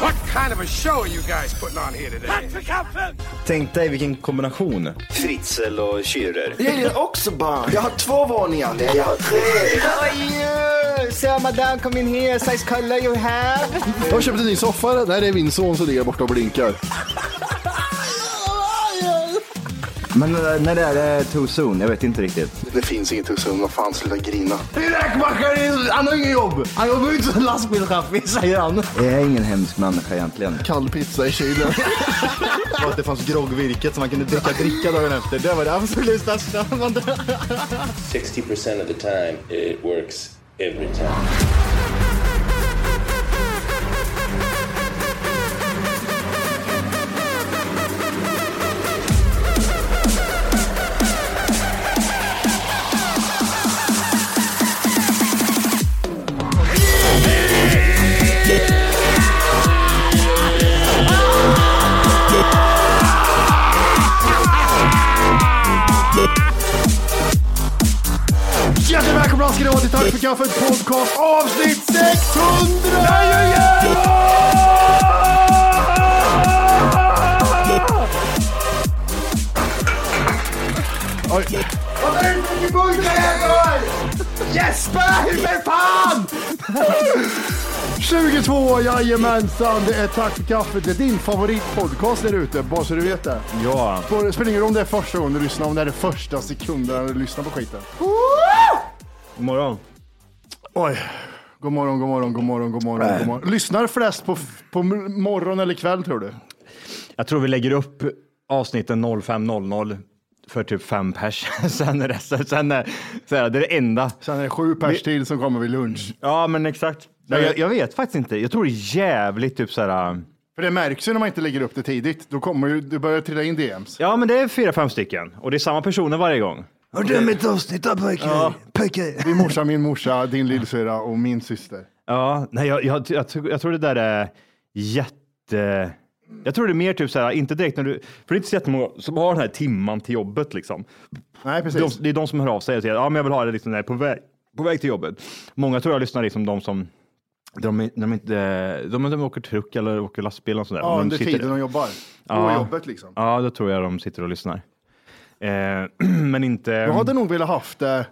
What kind of a show are you guys putting on here today? Patrick Huffield! Tänk dig vilken kombination. Fritzl och Schürrer. Jag gillar också barn. Jag har två våningar. Nej, jag har tre. So madame, come in here, size color you have. Jag har köpt en ny soffa. Där är min son som ligger borta och blinkar. Men eh, när det är eh, too soon? Jag vet inte riktigt. Det finns inget hos honom. Fan, sluta grina. Räkmackaren, han har inget jobb. Han jobbar ju inte som lastbilschaffis, säger han. Jag är ingen hemsk människa egentligen. Kall pizza i kylen. Och att det fanns groggvirket som man kunde dricka dricka dagen efter. Det var det absolut bästa. 60% of the time, it works every time. Hjärtligt välkomna ska ni vara till Tack för kaffet podcast avsnitt 600! Oj. Vad är det för burkar jag har? Jesper, för fan! 22, jajamensan! Det är Tack för kaffet. Det är din favoritpodcast där ute, bara så du vet det. Ja. Bara- Det spelar ingen roll om det är första gången du lyssnar, om det är det första sekunden du lyssnar på skiten. God morgon. Oj. God morgon, god morgon, god morgon, god morgon. God morgon. Lyssnar flest på, på morgon eller kväll tror du? Jag tror vi lägger upp avsnitten 0500 för typ fem pers. sen är det, sen är, så här, det är det enda. Sen är det sju pers till som kommer vid lunch. Ja, men exakt. Nej, jag, jag vet faktiskt inte. Jag tror det är jävligt typ så här. För det märks ju när man inte lägger upp det tidigt. Då kommer ju, det börjar trilla in DMs. Ja, men det är fyra, fem stycken och det är samma personer varje gång. Har du mitt avsnitt då pojkar? Ja. Din morsa, min morsa, din lillsyrra och min syster. Ja, nej, jag, jag, jag, tror- jag tror det där är jätte... Jag tror det är mer typ så här, inte direkt när du... För det är inte så jättemånga som har den här timman till jobbet liksom. Nej, De, precis. det är de som hör av sig och säger, ja men jag vill ha det liksom när jag är på väg, på väg till jobbet. Många tror jag lyssnar liksom de som... De, är- de, är inte, de, de åker truck eller åker lastbil och sådär. Ja, de under sitter- tiden de jobbar. På Ja. jobbet liksom. Ja, då tror jag de sitter och lyssnar. Eh, men inte... Jag hade nog velat haft det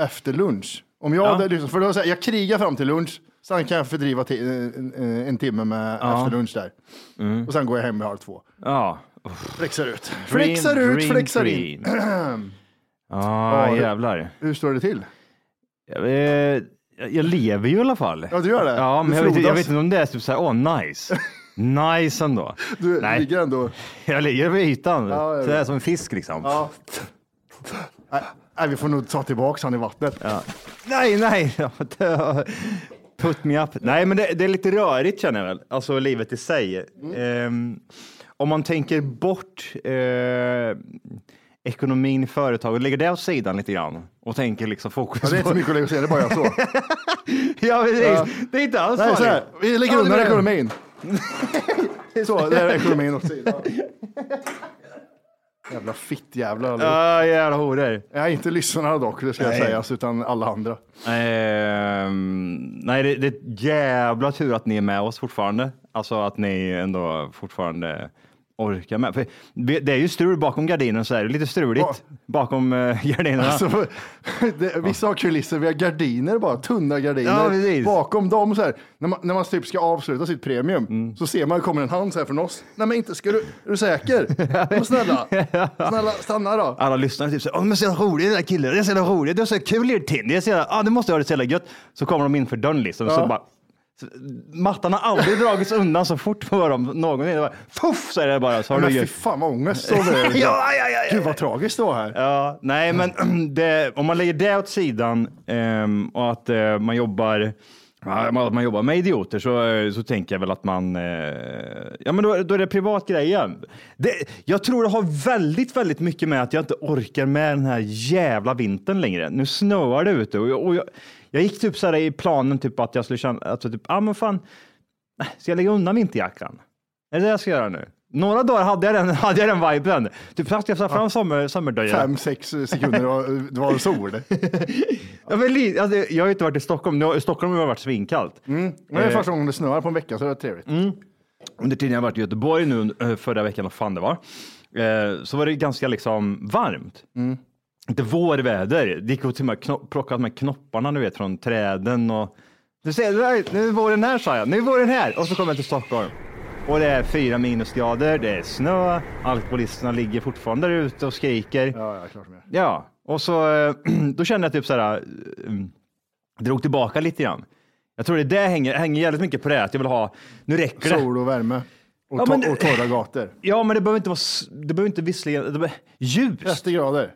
efter lunch. Om jag hade lyssnat, för då var det så här, jag krigar fram till lunch, sen kan jag Mm. fördriva ti- en, en- en timme med efter lunch där. Och sen går jag hem vid halv två. Ja, Flexar ut. Green, Flexar ut, green, flexar in. green. Ja, Ja, det- jävlar. Hur står det till? Jag, eh, jag, jag lever ju i alla fall. Ja, du gör det. Ja, men Du jag vet, jag frodas. vet inte om det är typ så här, åh, nice. Nice ändå. Du Nej. ligger ändå... Jag ligger vid ytan. Ja, jag så det är vet. som en fisk liksom. Ja. Nej, Nej, vi får nog ta tillbaka han i vattnet. Ja. Nej, nej. Put me up. Nej, men det, det är lite rörigt känner jag väl, alltså livet i sig. Mm. Ehm, om man tänker bort eh, ekonomin i företaget, lägger det åt sidan lite grann och tänker liksom fokus Ja, det är inte på... så mycket att lägga sig, det är bara jag så. Ja, precis. Ja. Det är inte alls Nej, så här, farligt. vi lägger Ja, undan det blir- ekonomin. Så, där är ekonomin åt sidan. Jävla fittjävlar allihop. Ja, jävla horor. Jag är inte lyssnarna dock, det ska Nej. jag sägas, utan alla andra. Ehm, nej, det, det är jävla tur att ni är med oss fortfarande. Alltså att ni ändå fortfarande orkar med. För det det är ju strul bakom gardinen så är det lite struligt Ja. bakom eh, gardinerna. Alltså, det, vissa har kulisser, vi har gardiner bara, tunna Ja, gardiner. precis. Bakom dem så här, när man, när man typ ska avsluta sitt premium, Mm. så ser man, kommer en hand så här från oss. Nej men inte, ska du, är du säker? Men snälla, snälla, stanna då. Alla lyssnare typ såhär, åh men så jävla rolig den där killen, det är så jävla rolig, det är så kul i din, det är så jävla, ah, du måste ha det så jävla gött. Så kommer de in för dörren liksom, så Ja. bara, så, mattan har aldrig dragits undan så fort på dem, någon är det bara, fuff så är det bara, så har Men du fy gjort. fan vad ångest det är. Ja, ja, ja, ja. Gud vad tragiskt det var här. Ja, nej, men det, om man lägger det åt sidan ehm, och att eh, man jobbar ja, att man jobbar med idioter så, eh, så tänker jag väl att man... eh, ja, men då, då är det privat grejer. Det, jag tror det har väldigt, väldigt mycket med att jag inte orkar med den här jävla vintern längre. Nu snöar det ute och jag, och jag, jag gick typ så här i planen typ att jag skulle känna att typ, ah, men fan, nej, ska jag lägga undan vinterjackan? Är det det jag ska göra nu? Några dagar hade jag den, hade jag den viben. Typ knappt jag sa fram sommar, sommardöjan. Fem, sex sekunder, det var, det var sol. Ja, men, li- alltså, jag har ju inte varit i Stockholm. Nu har, Stockholm har varit svinkallt. Men det Mm. är Eh. första gången det snöar på en vecka, så det är trevligt. Mm. Under tiden jag varit i Göteborg nu eh, förra veckan, vad fan det var, eh, så var det ganska liksom varmt. Mm. Inte vårväder. Det gick att till och med knop- plocka med knopparna du vet, från träden. Och... Du ser, "Nej, nu är våren här sa jag. Nu är våren här. Och så kommer jag till Stockholm. Och det är fyra minusgrader, det är snö, alkoholisterna ligger fortfarande där ute och skriker. Ja, ja, klart med. Ja, och så eh, då kände jag typ så här, eh, drog tillbaka lite grann. Jag tror det där hänger, hänger jävligt mycket på det, att jag vill ha, nu räcker det. Sol och värme. Och, Ja, to- men det- och torra gator. Ja, men det behöver inte vara, s- det behöver inte visserligen, det behöver, ljust. 30 grader.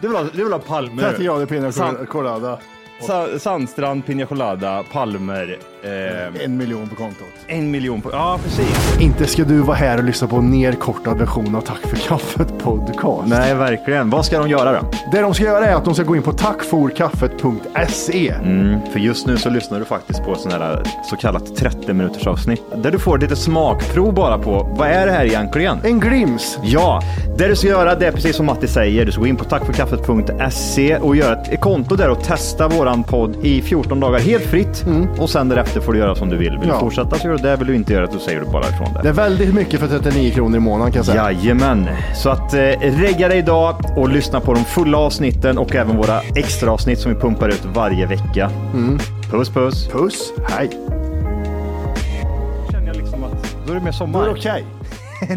Du vill ha, du vill ha palmer. 30 grader pina San- colada. sa, sandstrand, pina colada, palmer, eh, En miljon på kontot. en miljon på, ja precis. Inte ska du vara här och lyssna på en nerkortad version av Tack för kaffet podcast. Nej, verkligen. Vad ska de göra då? Det de ska göra är att de ska gå in på tackforkaffet.se. För just nu så lyssnar du faktiskt på sådana här eh, så kallat 30 minuters avsnitt där du får lite smakprov bara på vad är det här egentligen? En glims. Ja, det du ska göra det är precis som Matti säger. Du ska gå in på tackforkaffet.se E och göra ett konto där och testa våran podd i 14 dagar helt fritt. Och sen därefter får du göra som du vill. Vill du Mm. Ja. fortsätta så gör du det. Vill du inte göra det så säger du bara ifrån Det det. är väldigt mycket för 39 kronor i månaden kan jag säga. Jajamän, så att eh, regga dig idag och lyssna på de fulla avsnitten och även våra extra avsnitt som vi pumpar ut varje vecka. Mm. Puss puss! Puss, hej. känner jag liksom att då är det mer sommar. Då är det okej.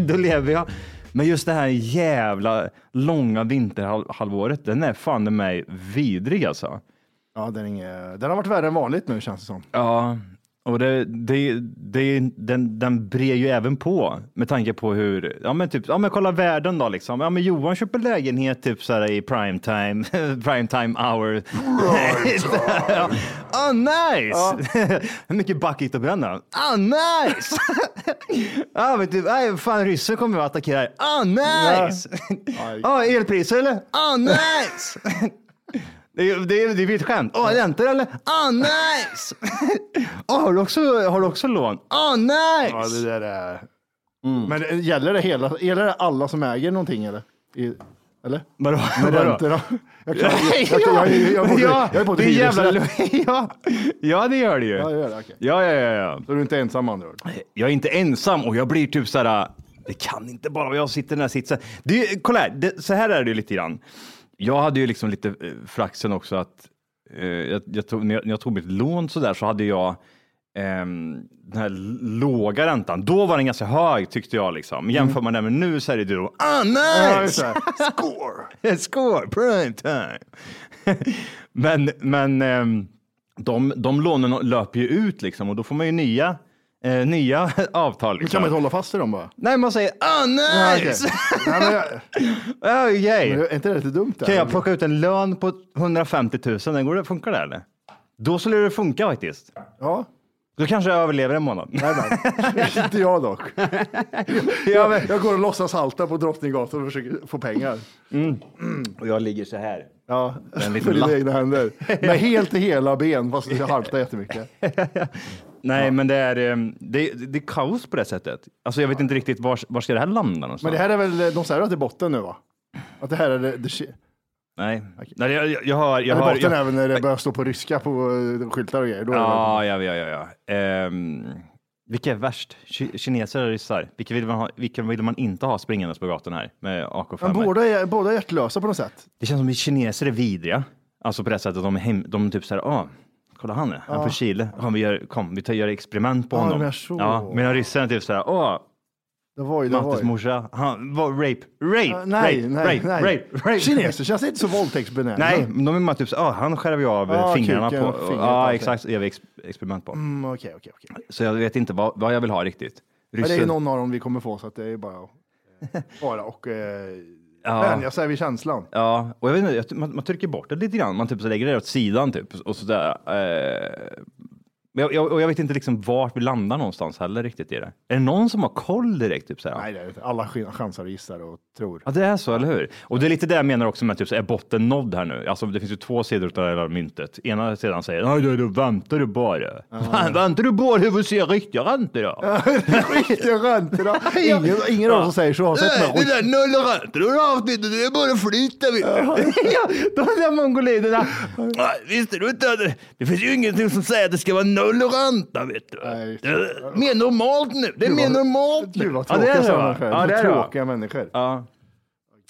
då lever jag. Men just det här jävla långa vinterhalvåret, den är fan med mig vidrig alltså. Ja, den, är inget... den har varit värre än vanligt nu känns det som. Ja, och det, det, det, den, den brer ju även på med tanke på hur, ja men typ, ja men kolla världen då liksom. Ja men Johan köper lägenhet typ så här i prime time, prime time hour. Prime time. oh, nice! Hur mycket bucket och bränna? Ah nice! ja men typ, nej fan ryssen kommer att attackera här. Ah nice! Aj. Ja, elpriser eller? Ah nice! Det är, det, är, det är mitt skämt. Åh, räntor eller? Ah, nice! Åh, har, du också, har du också lån? Ah, Ja, nice! det där är... Men det- gäller det, hela, gäller det alla som äger någonting eller? I, eller? Vadå? Med Vadå? räntorna? Jag, kan, jag, jag, jag, jag, borde- ja, jag är på ett det är jävla, hyresrätt. ja, ja, det gör det ju. Ja, det gör det, okej. Ja, ja, ja, ja. Så du är inte ensam med andra ord? Jag är inte ensam och jag blir typ så här. Det kan inte bara vara jag som sitter i den här sitsen. Det, är- kolla här, det, så här är det ju lite grann. Jag hade ju liksom lite eh, flaxen också att eh, jag, jag tog, när, jag, när jag tog mitt lån så där så hade jag ehm, den här låga räntan. Då var den ganska hög tyckte jag. Liksom. Jämför man den med nu så är det ju ah Mm. Ja, just nice! det. Score! Score, prime time! men men ehm, de, de lånen löper ju ut liksom och då får man ju nya, eh, nya avtal. Men Liksom. kan man inte hålla fast i dem bara? Nej, man säger ah nice! Nej, men jag, Ja, yay. men är inte det lite dumt? där? Kan jag plocka ut en lön på 150 000? Den går, det- funkar det eller? Då skulle det funka faktiskt. Ja. Då kanske jag överlever en månad. Nej, nej. inte jag dock. Ja, men- Jag går och låtsas halta på Drottninggatan och försöker få pengar. Och jag ligger så här. Ja, En liten med dina lapp. egna händer. Med helt i hela ben, fast jag haltar jättemycket. Nej, men det är, ehm, det, det är kaos på det sättet. Alltså, jag vet inte riktigt var, var ska det här landa någonstans. Men det här är väl, de säger att det är botten nu va? Att det här är det, det shi- Nej, Nej jag, jag, jag har... Jag Eller har botten jag, även när det börjar stå på ryska på eh, skyltar och grejer. Då är det Ja, ja, ja, ja. ja. Ehm, vilka är värst? Ki- Kineser eller ryssar? Vilka vill, man ha, vilka vill man inte ha springandes på gatan här med AK5? Men båda är, båda är hjärtlösa på något sätt. Det känns som att kineser är vidriga. Alltså på det sättet att de, är hem, de typ så här, ah, kolla han är, han är från Chile. Han, vi gör, kom, vi tar, gör experiment på Ja, honom. de är så. Ja, medan ryssarna är typ så här, ah, Det var ju, det var Mattes ju. morsa, han var rape, rape, Ja, nej, rape, nej, rape, nej. rape, rape. Kineser känns inte så våldtäktsbenägna. Nej, men de är mer typ så här, ah, han skär vi av eh, Ah, fingrarna kuken, på. fingret, ja, alltså. exakt, så gör vi ex, experiment på. Mm, Okej, okej, okej. Så jag vet inte vad, vad jag vill ha riktigt. Men det är ju Ryssen- någon av dem vi kommer få, så att det är bara att- bara och eh, Ja. vänja sig vid känslan. Ja, och jag vet inte, jag, man, man trycker bort det lite grann. Man typ så lägger det åt sidan typ och sådär. Eh, men jag, jag, och jag vet inte liksom vart vi landar någonstans heller riktigt i det. Är det någon som har koll direkt? Typ, såhär? Nej, det är inte. Alla sk- chansar och gissar och tror. Ja, det är så, eller hur? Och det är lite det jag menar också med typ, så är botten nådd här nu? Alltså, det finns ju två sidor av det här myntet. Ena sidan säger, nej, då, då väntar du bara. Fan, Väntar du bara hur vi ser riktiga räntor då? Riktiga räntor! då. Ingen, ingen av dem som säger så har sett något. där nollräntor har du haft inte, det är bara flytta vet du. ja, de där mongoliderna. Nej, Visste du inte att det, det finns ju ingenting som säger att det ska vara nollränta vet du. Nej, just det är mer normalt nu. Det är mer normalt nu. Gud vad Ja, det tråkiga är det, sådana va? människor. tråkiga människor. Ja, det är det, va? Ja.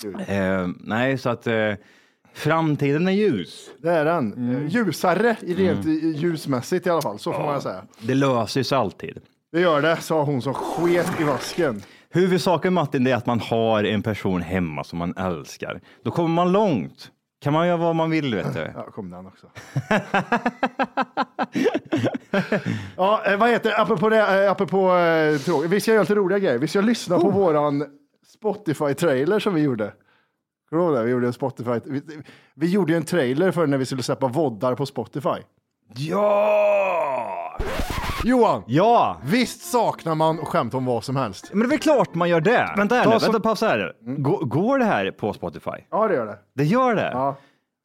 Gud. Eh, nej, så att eh, framtiden är ljus. Det är den. Mm. Eh, Ljusare, i rent i- ljusmässigt i alla fall, så får man säga. Det löser sig alltid. Det gör det, sa hon som sket i vasken. Huvudsaken Martin, det är att man har en person hemma som man älskar. Då kommer man långt. Kan man göra vad man vill vet du. Ja, kom den också. ja, eh, vad heter det? Apropå det, eh, apropå eh, tråkigt. Vi ska göra lite roliga grejer. Vi ska lyssna på våran Spotify-trailer som vi gjorde. Kommer du ihåg det? Vi gjorde en Spotify. Vi, vi gjorde ju en trailer för när vi skulle släppa voddar på Spotify. Ja! Johan, Ja! visst saknar man skämt om vad som helst? Men det är väl klart man gör det. Vänta här Ta nu, som- vänta, pausa här. Gå- Går det här på Spotify? Ja, det gör det. Det gör det? Ja.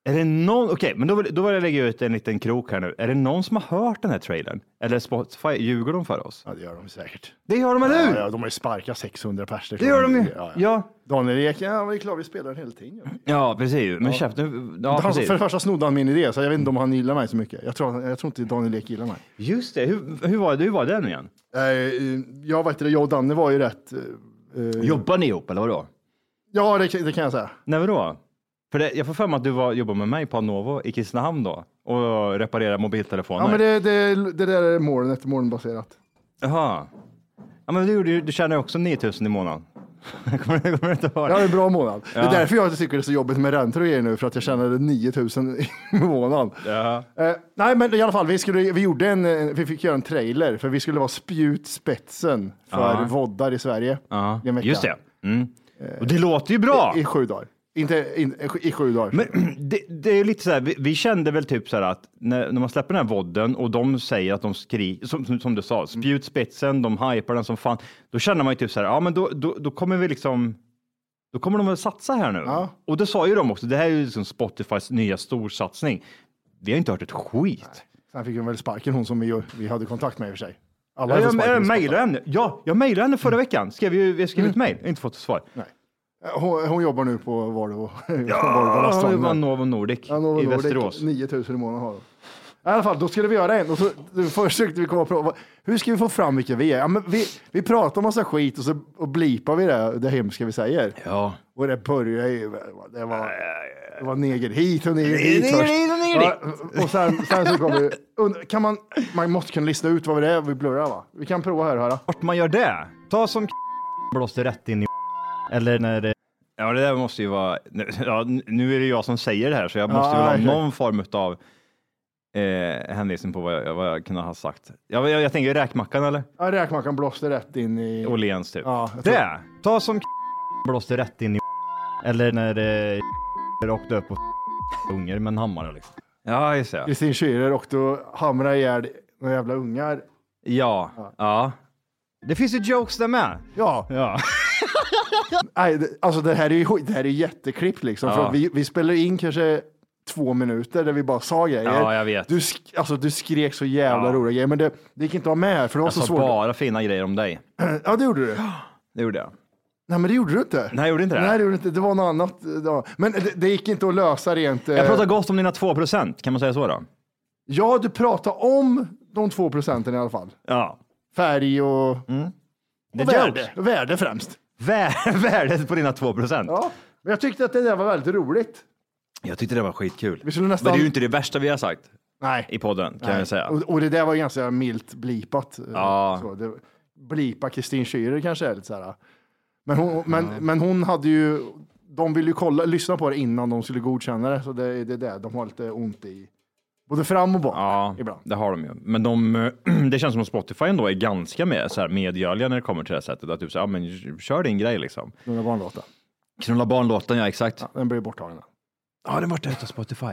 Är det någon, okej, men då vill, då vill jag lägga ut en liten krok här nu. Är det någon som har hört den här trailern? Eller Spotify, ljuger de för oss? Ja, det gör de säkert. Det gör de, eller hur? Ja, ja, de har ju sparkat 600 pers. Det gör de ju. Ja, ja. Ja, Daniel Ek, ja, vi är klart vi spelar den hela tiden. ju. ja precis. Men käft nu. Ja, han, precis. för det första snodde han min idé, så jag vet inte om han gillar mig så mycket. Jag tror, jag tror inte Daniel Ek gillar mig. Just det, hur, hur, var, det, hur var det nu igen? Eh, Jag, vet inte, jag och Danne var ju rätt... eh, eh, Jobbar ni ihop eller vadå? Ja, det, kan- det kan jag säga. Nej, vadå? För det, jag får för mig att du var, jobbade med mig på Anovo i Kristinehamn då och reparerade mobiltelefoner. Ja, men det, det, det där är molnet, molnbaserat. Jaha. Ja, men du, gjorde ju- du tjänar ju också 9000 i månaden. kommer, du- kommer du inte ihåg? Ja, det är en bra månad. Det Ja. är därför jag tycker det är så jobbigt med räntor och grejer nu, för att jag tjänade 9000 i månaden. Ja. Eh, nej, men i alla fall, vi, skulle, vi, gjorde en, eh, vi fick göra en trailer, för vi skulle vara spjutspetsen för Ja. voddar i Sverige. Ja, i en vecka. just det. Mm. Och det låter ju bra. I sju dagar. Inte in, i sju dagar. Men det, det är ju lite så här, vi, vi kände väl typ så här att när, när man släpper den här vodden och de säger att de skriker, som, som, som du Mm. sa, spjutspetsen, de hypar den som fan. Då känner man ju typ så här, ja men då, då, då kommer vi liksom, då kommer de att satsa här nu. Ja. Och det sa ju de också, det här är ju liksom Spotifys nya storsatsning. Vi har inte hört ett skit. Sen fick hon väl sparken, hon som vi, vi hade kontakt med i och för sig. Alla Ja, hade äh, jag fått sparken jag i Spotify. Mm. mejlade henne, ja, jag mejlade henne förra veckan, skrev ju, jag skrev ett mejl, Jag har inte fått ett svar. Eh, Hon, hon jobbar nu på Volvo. Ja, det var Volvo Novo Nordic Novo i Nordic, Västerås. 9000 i månaden har hon. I alla fall, då skulle vi göra en och så då försökte vi komma på vad- hur ska vi få fram vilka vi är? Ja, men vi, vi pratar om massa skit och så och blipar vi det, det hemska vi säger. Ja. Och det började ju, det var, det var neger hit och neger Neger dit hit och först. neger Ja, Och sen, sen så kommer vi, und- kan man, man måste kunna lista ut vad det är vi blurrar va? Vi kan prova här och höra. Vart man gör det? Ta som blåste rätt in i Eller när det... Ja, det där måste ju vara... Ja, nu är det jag som säger det här, så jag Ja, måste väl ha verkligen. någon form av eh, hänvisning på vad jag, vad jag kunde ha sagt. Jag, jag, jag tänker räkmackan eller? Ja, räkmackan blåste rätt in i... Åhléns typ. Ja, jag tror- det! Ta som blåste rätt in i Eller när det åkte upp och unger med en hammare liksom. Ja, just det. Kristin Schürer och då hamrar ihjäl några jävla ungar. Ja, ja. Det finns ju jokes där med. Ja. Ja. Nej, det- alltså det här är ju skit- det här är jätteklippt liksom. Ja. För att vi, vi spelar in kanske två minuter där vi bara sa grejer. Ja, jag vet. Du, sk- alltså, du skrek så jävla Ja. roliga grejer, men det, det gick inte att ha med här för det var Jag så sa svårt. Alltså, bara fina grejer om dig. Ja, det gjorde du. Det gjorde jag. Nej, men det gjorde du inte. Nej, jag gjorde inte det. Nej, det gjorde du inte. Det var något annat. Ja. Men det, det gick inte att lösa rent. eh, Jag pratar gott om dina 2 procent, kan man säga så då? Ja, du pratade om de två procenten i alla fall. Ja. Färg och, Det och är värde. jokes. Värde främst. Vär- Värdet på dina 2 procent. Ja, men jag tyckte att det där var väldigt roligt. Jag tyckte det var skitkul. Vi skulle nästan- Men det är ju inte det värsta vi har sagt Nej. i podden, kan Nej. jag säga. Och, och det där var ganska milt blipat. eh, Ja. Så det, blipa Kristin Schürer kanske är lite så här. Men hon, men, men hon hade ju, de ville ju kolla, lyssna på det innan de skulle godkänna det. Så det är det där de har lite ont i. Både fram och bak Ja, ibland. det har de ju. Men de, det känns som att Spotify ändå är ganska med, så här medgörliga när det kommer till det här sättet. Att typ så här, ja, men kör din grej liksom. Några barnlåtar. Knulla barnlåten, ja exakt. Den blev borttagen. Ja, den vart ute av Spotify.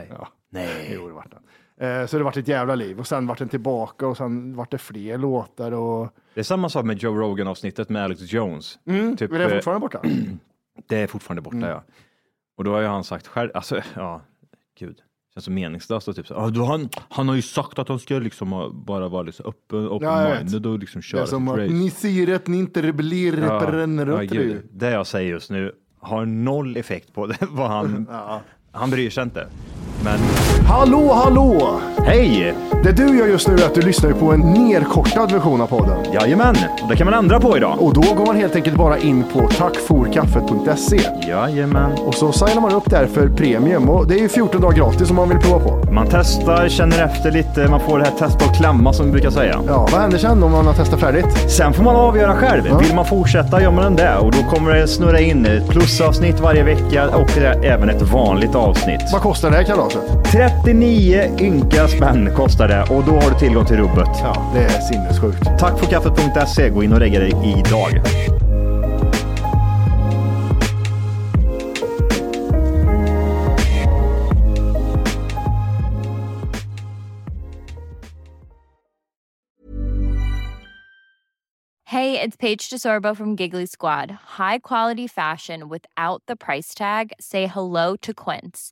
Nej. Jo, det vart den. Eh, Så det vart ett jävla liv och sen vart den tillbaka och sen vart det fler låtar och Det är samma sak med Joe Rogan-avsnittet med Alex Jones. typ, är Mm, det eh, fortfarande borta? Det är fortfarande borta, Mm. ja. Och då har ju han sagt själv, alltså, ja, gud. Känns så meningslöst och typ så, ah, då han, han har ju sagt att han ska liksom ha- bara vara liksom Ja, öppen, jag vet. open-minded och liksom Det köra är som sitt att race. ni ser att ni inte blir ja, representerade. gud. Det jag säger just nu har noll effekt på det, vad han, han bryr sig inte. Men Hallå, hallå! hej! Det du gör just nu är att du lyssnar på en nerkortad version av podden. Jajamän, det kan man ändra på idag. Och då går man helt enkelt bara in på tackforkaffet.se Jajamän. och så signar man upp där för premium. Och det är ju 14 dagar gratis om man vill prova på. Man testar, känner efter lite, man får det här testa och klämma som vi brukar säga. Ja, vad händer sen om man har testat färdigt? Sen får man avgöra själv. Vill man fortsätta gör man det och då kommer det snurra in ett plusavsnitt varje vecka och det är även ett vanligt avsnitt. Vad kostar det här kalaset? 39 ynka spänn kostar det och då har du tillgång till rubbet. Ja, det är sinnessjukt. Tack för kaffet.se. E. Gå in och lägg dig idag. Hey, it's Paige DeSorbo from Giggly Squad. High quality fashion without the price tag. Say hello to Quince.